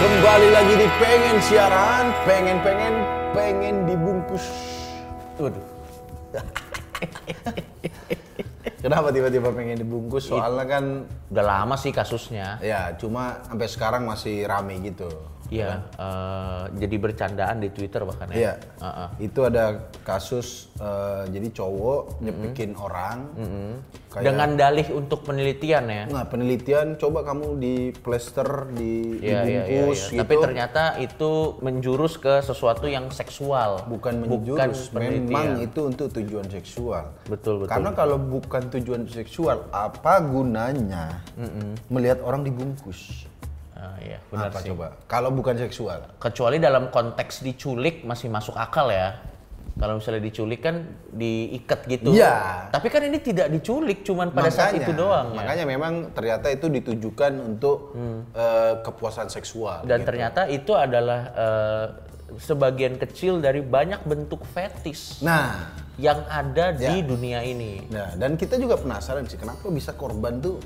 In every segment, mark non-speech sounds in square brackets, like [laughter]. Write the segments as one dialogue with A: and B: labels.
A: kembali lagi di pengen siaran, pengen pengen pengen dibungkus. Waduh. [laughs] Kenapa tiba-tiba pengen dibungkus? Soalnya kan
B: Udah lama sih kasusnya.
A: ya cuma sampai sekarang masih rame gitu.
B: Iya. eh, jadi bercandaan di Twitter bahkan ya.
A: Iya.
B: Heeh.
A: Itu ada kasus eh, jadi cowok nyepikin orang. Kayak
B: Dengan dalih untuk penelitian ya.
A: nah, penelitian coba kamu di plester di
B: Iya, iya, iya,
A: dibungkus
B: iya.
A: gitu.
B: Tapi ternyata itu menjurus ke sesuatu yang seksual.
A: bukan
B: Bukan
A: menjurus memang
B: penelitian.
A: itu untuk tujuan seksual
B: Betul, betul,
A: karena kalau bukan tujuan seksual apa gunanya melihat orang dibungkus
B: Ah, iya, benar
A: apa
B: sih.
A: coba kalau bukan seksual
B: Kecuali dalam konteks diculik masih masuk akal ya. Kalau misalnya diculik kan diikat gitu.
A: Iya.
B: Tapi kan ini tidak diculik, cuman pada saat itu doang. ya. Hmm.
A: makanya memang ternyata itu ditujukan untuk eh, kepuasan seksual gitu.
B: Dan ternyata itu adalah eh, sebagian kecil dari banyak bentuk fetis
A: nah
B: yang ada di
A: Ya.
B: dunia ini.
A: nah dan kita juga penasaran sih kenapa bisa korban tuh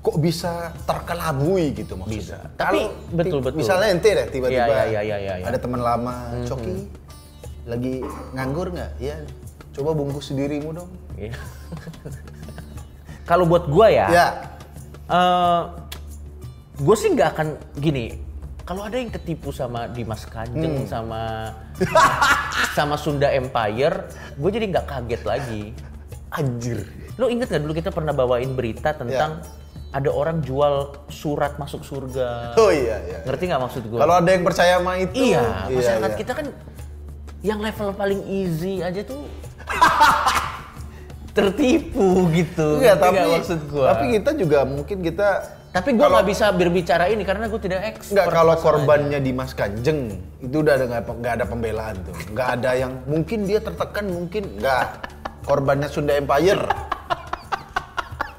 A: kok bisa terkelabui gitu maksudnya
B: Bisa. Tapi,
A: Kalau
B: betul,
A: ti-
B: betul.
A: misalnya ente deh tiba-tiba
B: Iya, iya, iya, iya, iya.
A: ada teman lama coki lagi nganggur nggak ya coba bungkus dirimu dong
B: Iya. Kalau buat gua ya,
A: ya
B: gue sih nggak akan gini. Kalau ada yang ketipu sama Dimas Kanjeng sama [laughs] sama Sunda Empire, gue jadi nggak kaget lagi.
A: anjir
B: Lo inget gak dulu kita pernah bawain berita tentang ada orang jual surat masuk surga?
A: oh iya iya
B: Ngerti nggak maksud gue?
A: kalau ada yang percaya sama itu
B: Iya, masyarakat
A: iya.
B: kita kan yang level paling easy aja tuh [laughs] tertipu
A: Enggak,
B: gitu. Ngerti
A: Iya, tapi
B: nggak maksud gua.
A: tapi kita juga mungkin kita
B: Tapi gua
A: kalau-
B: nggak bisa berbicara ini karena gua tidak expert.
A: Enggak, kalau
B: masalahnya.
A: korbannya Dimas Kanjeng itu udah ada nggak nggak ada pembelaan tuh, nggak ada yang mungkin dia tertekan mungkin nggak korbannya Sunda Empire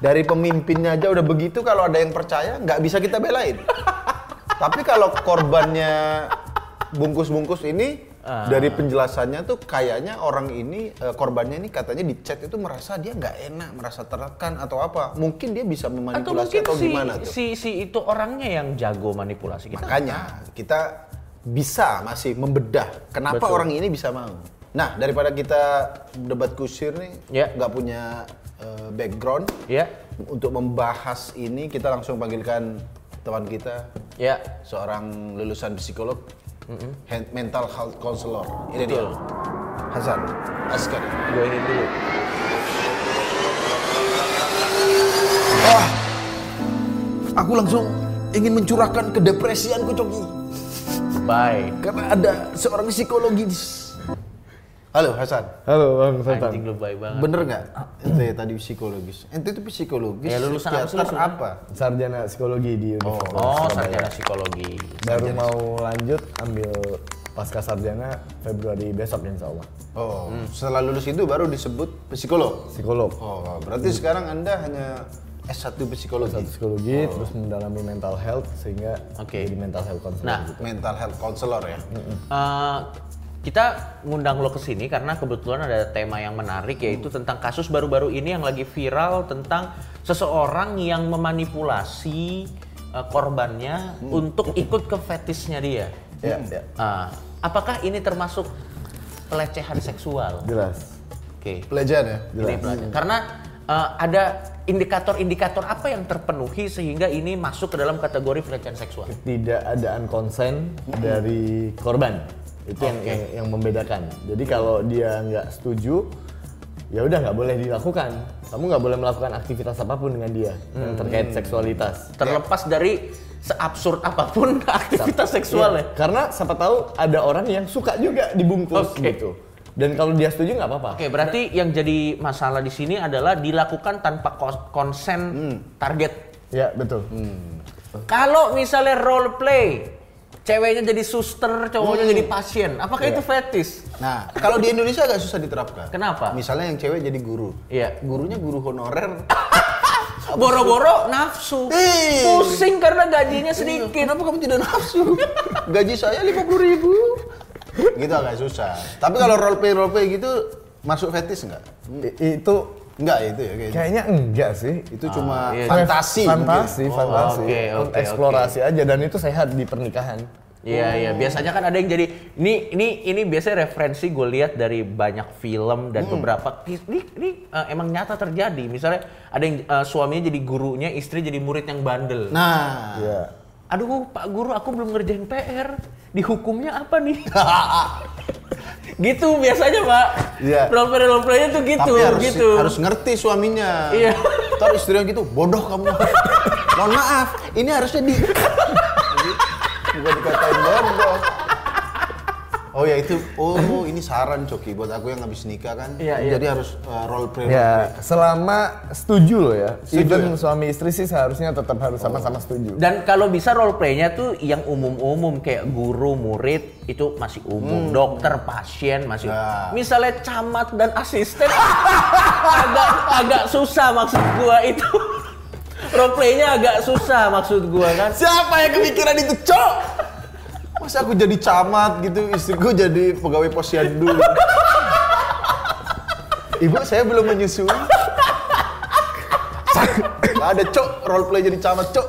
A: dari pemimpinnya aja udah begitu kalau ada yang percaya nggak bisa kita belain. Tapi kalau korbannya bungkus-bungkus ini
B: Ah.
A: dari penjelasannya tuh kayaknya orang ini eh, korbannya ini katanya di chat itu merasa dia nggak enak, merasa tertekan atau apa. Mungkin dia bisa
B: atau
A: memanipulasi
B: mungkin
A: atau,
B: si,
A: gimana tuh.
B: si si itu orangnya yang jago manipulasi kita.
A: Makanya kita bisa masih membedah kenapa
B: Betul.
A: orang ini bisa mau. Nah daripada kita debat kusir nih
B: Ya.
A: nggak punya eh, background
B: Ya,
A: untuk membahas ini kita langsung panggilkan teman kita
B: ya.
A: seorang lulusan psikolog hand- mental health counselor ini dia
B: Betul.
A: Hasan Askar.
B: Gue ini dulu.
A: Wah, aku langsung ingin mencurahkan kedepresianku Coki
B: Bye.
A: karena ada seorang psikologis. Halo Hasan.
C: Halo Bang Sultan.
B: Anjing lu bye banget.
A: Bener nggak? Ente tadi psikologis. Ente itu psikologis.
B: Ah. Ya, lulusan apa sih,
A: psikiater
B: lulusan?
A: apa?
C: Sarjana psikologi di Universitas
B: Oh,
C: Surabaya.
B: sarjana psikologi.
C: Baru mau lanjut ambil pasca sarjana Februari besok insya Allah.
A: Oh,
B: Hmm.
A: setelah lulus itu baru disebut psikolog.
C: Psikolog.
A: Oh, berarti
B: Hmm.
A: sekarang Anda hanya S1 psikologi.
C: Psikologi terus mendalami mental health sehingga
B: Oh. Oke.
C: jadi mental health counselor.
B: Nah,
A: Mental health counselor ya.
B: Eh, kita ngundang lo ke sini karena kebetulan ada tema yang menarik yaitu tentang kasus baru-baru ini yang lagi viral tentang seseorang yang memanipulasi eh, korbannya untuk ikut ke fetisnya dia.
C: ya, ya.
B: Ah, apakah ini termasuk pelecehan seksual? Oke.
C: Jelas.
A: Pelajar ya.
B: Ini pelecehan. Karena eh, ada indikator-indikator apa yang terpenuhi sehingga ini masuk ke dalam kategori pelecehan seksual?
C: Ya. Ketidakadaan konsen dari korban itu yang,
B: Oke.
C: yang yang membedakan. Jadi kalau dia nggak setuju, ya udah nggak boleh dilakukan. Kamu nggak boleh melakukan aktivitas apapun dengan dia yang terkait
B: Hmm.
C: seksualitas.
B: terlepas dari seabsurd apapun [laughs] aktivitas ya.
C: Iya,
B: seksualnya.
C: Karena siapa tahu ada orang yang suka juga dibungkus
B: Oke.
C: gitu. Dan kalau dia setuju nggak apa-apa.
B: Oke, berarti yang jadi masalah di sini adalah dilakukan tanpa kos- konsen
A: Hmm.
B: target.
C: Ya betul.
B: Kalau misalnya role play, ceweknya jadi suster, cowoknya
A: Hmm.
B: jadi pasien, apakah
A: Iya.
B: itu fetis?
A: Nah, kalau di Indonesia agak susah diterapkan.
B: Kenapa?
A: Misalnya yang cewek jadi guru.
B: Iya.
A: Gurunya guru honorer.
B: Boro-boro nafsu,
A: Ih. Iya,
B: pusing karena gajinya sedikit.
A: Kenapa kamu tidak nafsu? [laughs] Gaji saya 50 ribu. Gitu agak susah. Tapi kalau role play role play gitu masuk fetis nggak?
C: I- itu
A: Enggak ya itu ya kayaknya.
C: Kayaknya enggak sih.
A: Itu cuma
B: iya.
A: fantasi. mungkin.
C: Ah, Fantasi,
B: Oh,
C: fantasi.
B: oke, oke,
C: Eksplorasi aja dan itu sehat di pernikahan.
B: Iya iya biasanya kan ada yang jadi ini ini ini biasanya referensi gue lihat dari banyak film dan
A: Hmm.
B: beberapa ini ini eh, emang nyata terjadi misalnya ada yang eh, suaminya jadi gurunya istri jadi murid yang bandel.
A: Nah,
C: Iya.
B: Aduh Pak Guru aku belum ngerjain PR dihukumnya apa
A: [laughs]
B: nih? gitu biasanya Pak.
A: Iya.
B: Role play role play-nya tuh gitu
A: tapi harus
B: gitu.
A: harus ngerti suaminya.
B: Iya.
A: Ntar istrinya gitu, bodoh
B: [laughs]
A: kamu. Mohon maaf, ini harusnya di [laughs] bukan dikatain bodoh. Oh ya itu, oh ini saran Coki buat aku yang habis nikah kan.
B: Iya, iya.
A: Jadi harus uh, role play.
C: Ya, selama setuju loh ya.
A: Setuju
C: Even
A: ya?
C: suami istri sih seharusnya tetap harus
B: Oh.
C: sama-sama setuju.
B: Dan kalau bisa role play-nya tuh yang umum-umum kayak guru, murid itu masih umum, dokter, pasien masih.
A: Hmm. Ya.
B: Misalnya camat dan asisten [laughs] agak agak susah maksud gua itu. [laughs] role play-nya agak susah maksud gua kan.
A: Siapa yang kepikiran itu, Cok? Masa aku jadi camat gitu, istriku jadi pegawai posyandu. gitu. Ibu, saya belum menyusui. Sak- Nggak ada, Cok. Role play jadi camat, Cok.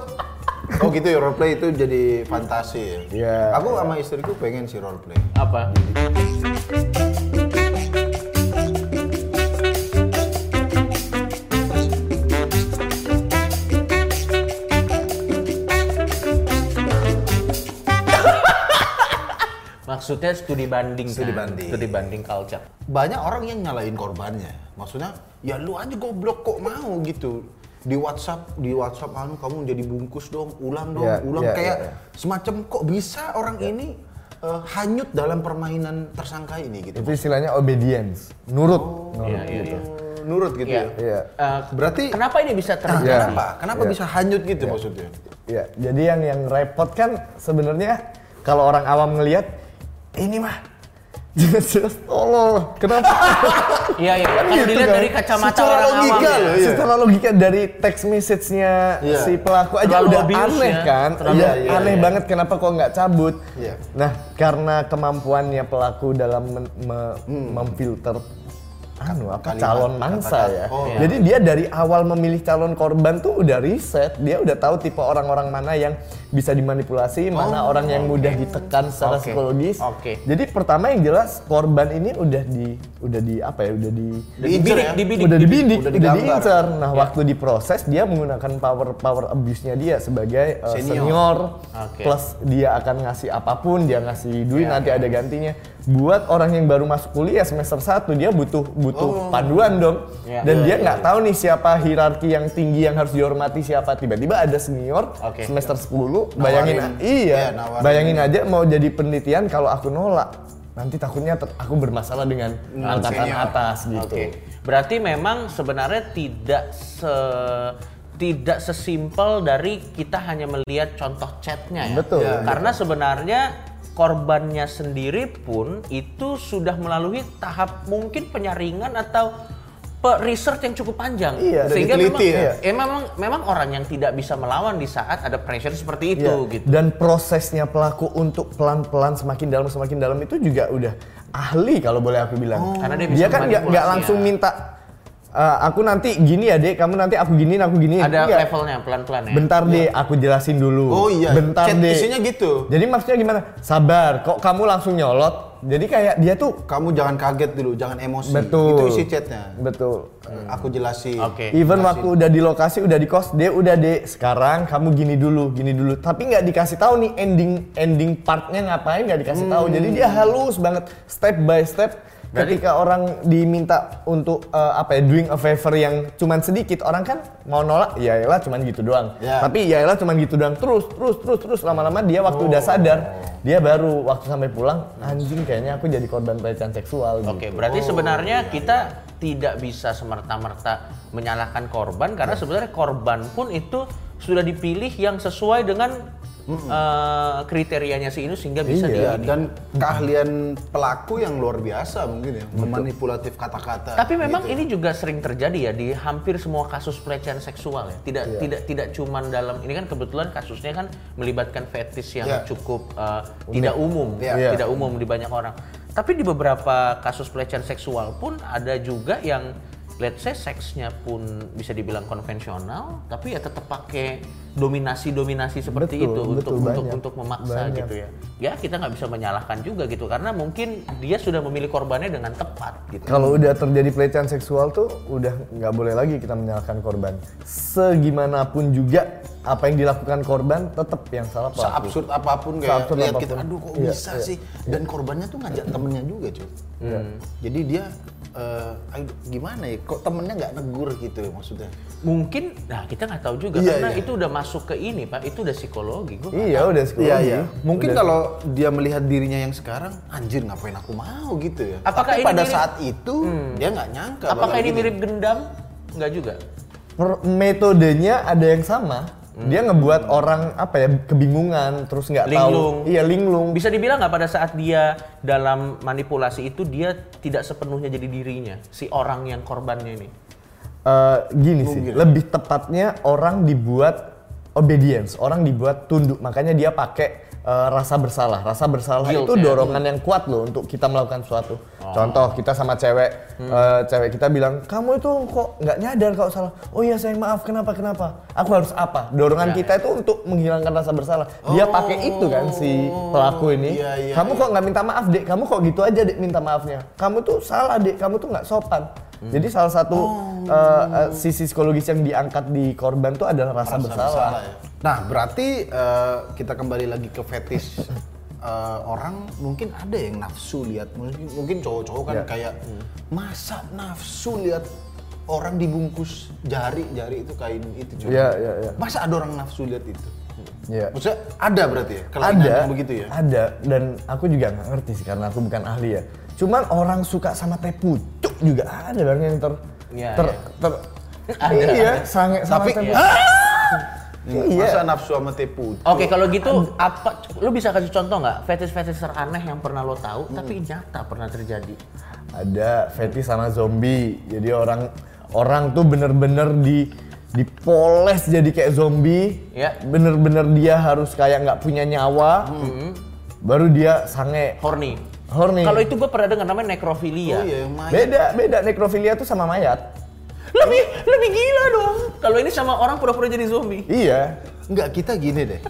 A: Oh gitu ya, role play itu jadi fantasi ya?
C: Iya.
A: Aku sama istriku pengen sih role play.
B: Apa? [laughs] Maksudnya studi banding
A: Studi
B: kan?
A: banding.
B: Studi banding culture.
A: Banyak orang yang nyalain korbannya. Maksudnya, ya lu aja goblok kok mau gitu. Di WhatsApp, di WhatsApp anu kamu jadi bungkus dong, ulang dong,
C: Ya,
A: ulang
C: ya,
A: kayak
C: ya, ya.
A: semacam kok bisa orang ini eh, hanyut dalam permainan tersangka ini gitu. Eh,
C: Itu istilahnya obedience, nurut.
B: Iya,
C: Nurut.
B: iya, iya.
A: Nurut gitu
B: Iya.
A: ya.
C: Iya.
B: Eh,
A: Berarti Ah, ya.
B: kenapa ini bisa terjadi?
C: Iya.
A: kenapa? Kenapa
C: Iya.
A: bisa hanyut gitu maksudnya?
C: Iya, jadi yang yang repot kan sebenarnya kalau orang awam ngelihat ini mah [laughs] jelas-jelas tolol. Kenapa?
B: Iya, iya.
C: Kan
B: Kalau
C: gitu
B: dilihat
C: kan?
B: dari kacamata
A: Secara
B: orang awam.
A: logika
B: ya.
A: loh. iya.
C: Secara logika dari text message-nya
A: Iya.
C: si pelaku aja
B: Terlalu
C: udah
B: obvious
C: aneh
B: ya.
C: kan,
B: Terlalu-
C: Iya,
A: iya,
C: aneh
A: iya.
C: banget kenapa kok nggak cabut.
A: Iya.
C: Nah, karena kemampuannya pelaku dalam men- me- memfilter anu apa
A: Hmm. Kalimat,
C: calon mangsa
A: kata-kata.
C: ya.
A: Oh, iya.
C: Jadi dia dari awal memilih calon korban tuh udah riset, dia udah tahu tipe orang-orang mana yang bisa dimanipulasi, mana
A: Oh.
C: orang yang mudah ditekan secara
B: Oke.
C: psikologis.
B: Oke.
C: Jadi pertama yang jelas korban ini udah di udah di apa ya, udah di
A: Diincer
B: Dibidik,
A: ya?
B: dibidik.
C: udah dibidik,
A: udah
C: udah,
A: digambar. Ya.
C: diincar. Nah, waktu diproses dia menggunakan power power abuse-nya dia sebagai uh,
A: Senior.
C: senior,
B: Oke.
C: plus dia akan ngasih apapun, dia ngasih duit
A: Ya,
C: nanti ada gantinya. Buat orang yang baru masuk kuliah semester 1 dia butuh
A: Oh.
C: butuh panduan dong.
B: Iya.
A: Ya.
C: Dan dia nggak tahu nih siapa hierarki yang tinggi yang harus dihormati siapa. Tiba-tiba ada senior
B: Oke.
C: semester 10, bayangin
A: Nawarin. Iya,
C: iya,
A: nawarin.
C: bayangin aja mau jadi penelitian kalau aku nolak. Nanti takutnya ter- aku bermasalah dengan angkatan
A: senior.
C: atas gitu.
B: Oke. Berarti memang sebenarnya tidak se tidak sesimpel dari kita hanya melihat contoh chatnya ya.
C: Betul.
A: Ya,
B: Karena sebenarnya korbannya sendiri pun itu sudah melalui tahap mungkin penyaringan atau pe- research yang cukup panjang.
C: Iya,
A: udah
B: Sehingga memang,
A: diteliti ya.
B: eh, memang memang orang yang tidak bisa melawan di saat ada pressure seperti itu
C: Iya,
B: gitu.
C: Dan prosesnya pelaku untuk pelan-pelan semakin dalam semakin dalam itu juga udah ahli kalau boleh aku bilang.
B: Karena dia
C: dia,
B: bisa
C: kan nggak nggak
B: manipulasi
C: langsung
B: ya.
C: minta "Eh, aku nanti gini ya dek, kamu nanti aku gini, aku gini.
B: Ada
A: Iya.
C: Nggak.
B: levelnya pelan-pelan ya.
C: Bentar deh, aku jelasin dulu.
A: Oh iya,
C: Bentar
A: chat
C: deh.
A: isinya gitu.
C: Jadi maksudnya gimana? Sabar, kok kamu langsung nyolot? Jadi kayak dia tuh
A: Kamu jangan kaget dulu, jangan emosi.
C: betul.
A: Itu isi chatnya. Hmm,
C: Betul.
A: Aku jelasin.
B: Oke.
C: Even waktu udah di lokasi, udah di kos, dia udah deh sekarang kamu gini dulu, gini dulu. Tapi nggak dikasih tahu nih ending ending partnya ngapain nggak dikasih tahu. Jadi dia halus banget step by step.
B: Hmm. Berarti-
C: Ketika orang diminta untuk eh, apa ya doing a favor yang cuman sedikit, orang kan mau nolak, ya elah cuman gitu doang.
A: Ya.
C: Tapi ya elah cuman gitu doang terus terus terus terus lama-lama dia waktu
B: Oh.
C: udah sadar, dia baru waktu sampai pulang anjing kayaknya aku jadi korban pelecehan seksual. gitu.
B: Oke,
A: Oh,
B: berarti
A: iya,
B: sebenarnya kita tidak bisa semerta-merta menyalahkan
A: Iya.
B: korban karena sebenarnya korban pun itu sudah dipilih yang sesuai dengan eh, kriterianya si ini sehingga bisa
A: Iya,
B: dia.
A: dan keahlian pelaku yang luar biasa mungkin ya, memanipulatif kata-kata.
B: Tapi memang
C: Gitu.
B: ini juga sering terjadi ya di hampir semua kasus pelecehan seksual ya. Tidak
C: Iya.
B: tidak tidak cuman dalam ini kan kebetulan kasusnya kan melibatkan fetis yang
A: Iya.
B: cukup eh, tidak umum,
A: Iya.
B: ya,
C: Iya.
B: tidak umum di banyak orang. Tapi di beberapa kasus pelecehan seksual pun ada juga yang let's say seksnya pun bisa dibilang konvensional tapi ya tetap pakai dominasi-dominasi seperti
C: Betul,
B: itu
C: betul,
B: untuk untuk
C: banyak.
B: untuk memaksa
C: Banyak.
B: gitu ya ya kita nggak bisa menyalahkan juga gitu karena mungkin dia sudah memilih korbannya dengan tepat gitu
C: Kalau udah terjadi pelecehan seksual tuh udah nggak boleh lagi kita menyalahkan korban. Segimanapun juga apa yang dilakukan korban tetap yang salah pelaku.
A: Seabsurd apapun kayak
C: Seabsurd
A: lihat
C: apapun.
A: kita, aduh kok
C: Iya,
A: bisa
C: iya,
A: sih. Dan korbannya tuh ngajak temennya juga cuy. Jadi dia eh, ayo, gimana ya, kok temennya nggak negur gitu ya maksudnya.
B: mungkin nah kita nggak tahu juga
A: Iya,
B: karena
A: iya.
B: itu udah masuk ke ini pak itu udah psikologi gua nggak
C: Iya udah psikologi.
A: Iya iya. Mungkin
C: Udah-
A: kalau dia melihat dirinya yang sekarang, anjir ngapain aku mau gitu ya.
B: Apakah
A: Tapi
B: ini
A: pada
B: mirip- Hmm.
A: saat itu dia nggak nyangka. gitu.
B: Apakah
A: bakal
B: ini
A: gini.
B: mirip gendam? Enggak juga.
C: per- metodenya ada yang sama.
A: Hmm.
C: Dia ngebuat orang apa ya kebingungan terus nggak
B: Linglung.
C: tahu. Iya linglung.
B: Bisa dibilang nggak pada saat dia dalam manipulasi itu dia tidak sepenuhnya jadi dirinya si orang yang korbannya ini.
C: Eh, gini sih, lebih tepatnya orang dibuat obedience, orang dibuat tunduk. Makanya dia pakai eh, rasa bersalah. Rasa bersalah
B: Guilt, Oh.
C: itu
B: ya.
C: dorongan yang kuat loh untuk kita melakukan sesuatu. Contoh kita sama cewek,
B: Hmm.
C: eh, cewek kita bilang, "Kamu itu kok nggak nyadar kalau salah." "Oh iya, saya maaf. Kenapa? Kenapa? Aku harus apa?"
B: Ya,
C: Dorongan
B: Oh.
C: kita itu untuk menghilangkan rasa bersalah. Dia pakai itu kan si pelaku ini.
A: iya, iya,
C: Kamu kok nggak minta maaf, Dek? Kamu kok gitu aja, Dek, minta maafnya. Kamu tuh salah, Dek. Kamu tuh nggak sopan. Jadi salah satu eh, eh, sisi psikologis yang diangkat di korban tuh adalah rasa, bersalah.
A: Nah, berarti eh, kita kembali lagi ke fetish [laughs] Eh, orang mungkin ada yang nafsu lihat mungkin, mungkin cowok-cowok kan
C: Ya.
A: kayak masa nafsu lihat orang dibungkus jari-jari itu kain itu cuy.
C: Iya, iya, iya.
A: Masa ada orang nafsu lihat itu?
C: Iya.
A: Maksudnya ada berarti ya? kelainan
C: Ada,
A: yang begitu ya?
C: ada, dan aku juga nggak ngerti sih karena aku bukan ahli ya. Cuman orang suka sama teh pucuk juga ada bang yang ter,
B: Iya,
C: ter,
B: iya.
C: ter-
B: Ada,
C: iya,
B: ada.
C: sange sama
A: Tapi
C: teh pucuk.
A: Ah!
C: Iya. Oh,
A: masa nafsu sama tepu?
B: Oke, kalau gitu apa lu bisa kasih contoh nggak fetish-fetish teraneh yang pernah lo tahu
A: Hmm.
B: tapi nyata pernah terjadi?
C: ada fetish sama zombie. Jadi orang orang tuh bener-bener di dipoles jadi kayak zombie.
B: Ya.
C: Bener-bener dia harus kayak nggak punya nyawa. Baru dia sange.
B: Horny.
C: Horny.
B: Hmm. Kalau itu gue pernah dengar namanya
A: Hmm.
B: nekrofilia.
A: Oh iya, yang main.
C: Beda beda nekrofilia tuh sama mayat.
B: Lebih lebih gila dong. Kalau ini sama orang pura-pura jadi zombie.
C: Iya.
A: Enggak, kita gini deh.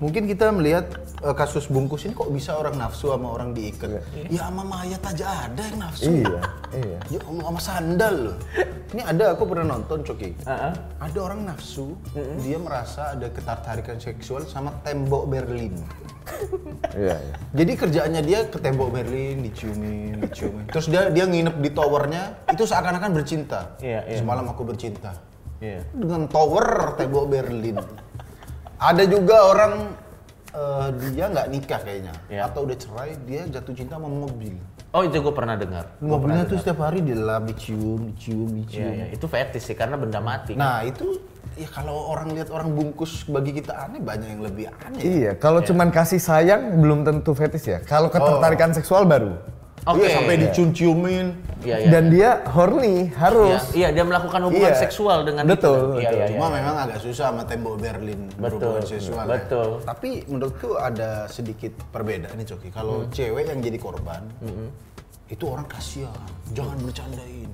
A: Mungkin kita melihat eh, kasus bungkus ini kok bisa orang nafsu sama orang diikat. Ya sama mayat aja ada yang nafsu.
C: Iya. iya.
A: Ya sama sama sandal loh. Ini ada aku pernah nonton Coki.
B: Heeh.
A: Ada orang nafsu, dia merasa ada ketertarikan seksual sama tembok Berlin.
C: Iya. iya.
A: Jadi kerjaannya dia ke tembok Berlin, diciumin, diciumin. Terus dia dia nginep di towernya, itu seakan-akan bercinta.
B: Iya, iya.
A: Semalam aku bercinta
B: Iya.
A: dengan tower tembok Berlin. Ada juga orang eh, dia nggak nikah kayaknya
B: Ya.
A: atau udah cerai dia jatuh cinta sama mobil.
B: Oh itu gue pernah dengar.
A: Mobilnya tuh setiap hari dilap, dicium, dicium,
B: Iya,
A: dicium.
B: iya. itu fetish sih karena benda mati.
A: Nah itu ya kalau orang lihat orang bungkus bagi kita aneh banyak yang lebih aneh.
C: Iya, kalau cuman kasih sayang belum tentu fetish ya. Kalau
B: Oh.
C: ketertarikan seksual baru.
B: Oke.
A: Iya, sampai dicium-ciumin.
B: Iya, iya.
C: Dan dia horny
B: Iya,
C: harus.
B: iya, dia melakukan hubungan
C: Iya.
B: seksual dengan
C: Betul,
B: itu. Iya,
C: betul.
B: iya, iya.
A: Cuma memang agak susah sama tembok Berlin berhubungan seksual. ya.
B: betul.
A: Tapi menurutku ada sedikit perbedaan nih Coki. Kalau
B: Hmm.
A: cewek yang jadi korban, itu orang kasihan. Jangan bercandain.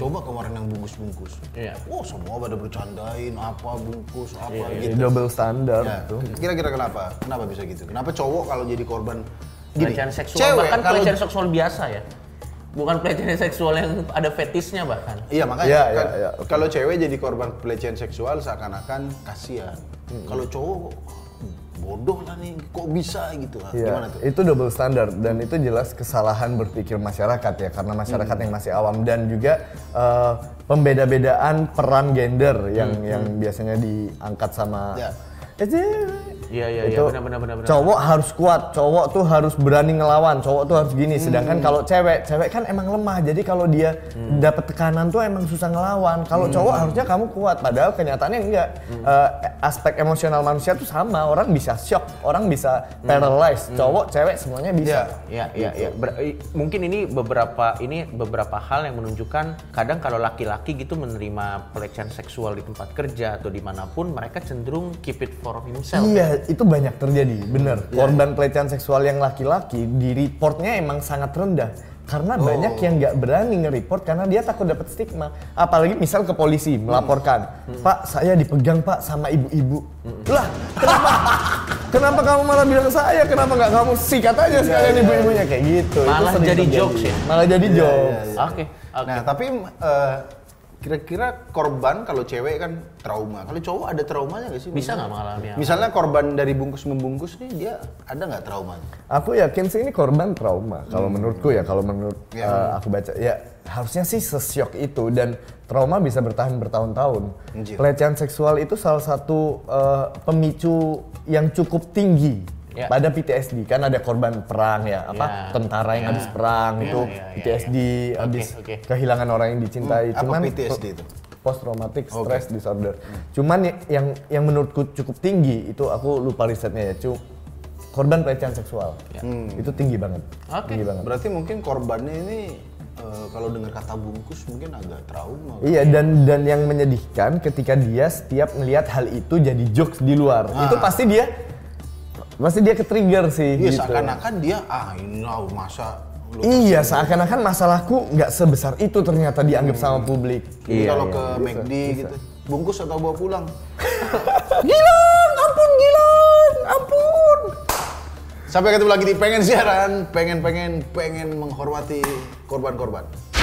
A: Coba kemarin yang bungkus-bungkus.
B: Hmm. Iya.
A: Oh semua pada bercandain, apa bungkus, apa
B: iya.
A: gitu.
C: Double standar
A: Ya,
C: tuh.
A: Kira-kira kenapa? Kenapa bisa gitu? Kenapa cowok kalau jadi korban gini?
B: Pelecehan seksual,
A: Cewek
B: bahkan
A: kalau
B: pelecehan seksual biasa ya. Bukan pelecehan seksual yang ada fetishnya bahkan.
A: Iya makanya
C: Iya,
A: kan
C: iya, iya, oke.
A: kalau cewek jadi korban pelecehan seksual seakan-akan kasihan.
C: Hmm.
A: Kalau cowok hmm, bodoh lah nih, kok bisa gitu lah.
C: Iya,
A: Gimana tuh?
C: itu double standard dan itu jelas kesalahan berpikir masyarakat ya karena masyarakat
A: Hmm.
C: yang masih awam dan juga eh, pembeda-bedaan peran gender yang yang biasanya diangkat sama
A: Hmm, Ya.
C: Eh, cewek.
B: Iya, iya, iya,
C: Itu
B: benar, benar, benar, benar.
C: Cowok harus kuat, cowok tuh harus berani ngelawan, cowok tuh harus gini. Sedangkan
B: Hmm.
C: kalau cewek, cewek kan emang lemah. Jadi kalau dia dapat tekanan tuh emang susah ngelawan. Kalau cowok
B: Hmm.
C: harusnya kamu kuat, padahal kenyataannya enggak. Eh, aspek emosional manusia tuh sama. Orang bisa shock, orang bisa
B: Hmm.
C: paralyzed. Cowok, cewek semuanya bisa.
B: Ya, ya, ya. Ber- i- mungkin ini beberapa ini beberapa hal yang menunjukkan kadang kalau laki-laki gitu menerima pelecehan seksual di tempat kerja atau dimanapun mereka cenderung keep it for himself.
C: Iya, itu banyak
B: Iya.
C: terjadi, bener. Korban pelecehan seksual yang laki-laki di reportnya emang sangat rendah.
B: Oh.
C: Karena banyak yang nggak berani nge-report karena dia takut dapat stigma. Apalagi misal ke polisi
B: Hmm.
C: melaporkan, Pak saya dipegang Pak sama ibu-ibu.
B: Hmm.
C: Lah
B: [laughs]
C: kenapa? kenapa kamu malah bilang saya? Kenapa nggak kamu sikat aja sekalian ibu-ibunya kayak gitu? Itu
B: Iya, Malah
C: sering
B: jadi
C: terjadi.
B: jokes ya?
C: Malah jadi jokes.
B: Oke, oke.
A: Nah, tapi eh, kira-kira korban kalau cewek kan trauma. Kalau cowok ada traumanya nggak sih?
B: Bisa nggak mengalami hal-
A: Misalnya korban dari bungkus membungkus nih dia ada nggak traumanya?
C: Aku yakin sih ini korban trauma. Kalau
B: Hmm.
C: menurutku ya, kalau menurut eh, aku baca ya harusnya sih sesyok itu dan trauma bisa bertahan bertahun-tahun.
A: Anjir.
C: Pelecehan seksual itu salah satu eh, pemicu yang cukup tinggi
B: Ya.
C: pada PTSD. Kan ada korban perang ya,
B: Ya.
C: apa tentara
B: Ya.
C: yang habis
B: Ya,
C: perang itu
B: ya, ya, ya.
C: PTSD
B: Oke,
C: habis
B: oke.
C: kehilangan orang yang dicintai.
A: Hmm, apa PTSD itu?
C: Post traumatic stress disorder. Cuman y- yang yang menurutku cukup tinggi itu aku lupa risetnya ya, cu korban pelecehan seksual.
A: Ya.
C: Hmm. Itu tinggi banget.
B: Oke.
C: Tinggi banget.
A: Berarti mungkin korbannya ini eh, kalau dengar kata bungkus mungkin agak trauma.
C: Iya dan dan yang menyedihkan ketika dia setiap melihat hal itu jadi jokes di luar. Itu pasti dia pasti dia ketrigger sih
A: Ah. Iya
C: gitu.
A: seakan-akan dia ah ini lah masa lu.
C: Iya, seakan-akan masalahku nggak sebesar itu ternyata dianggap sama publik.
A: Jadi
B: Iya,
A: Hmm. Gitu kalau
B: iya.
A: ke McD gitu bungkus atau bawa pulang.
C: Gilang, ampun Gilang, ampun.
A: Sampai ketemu lagi di pengen siaran, pengen pengen pengen menghormati korban-korban.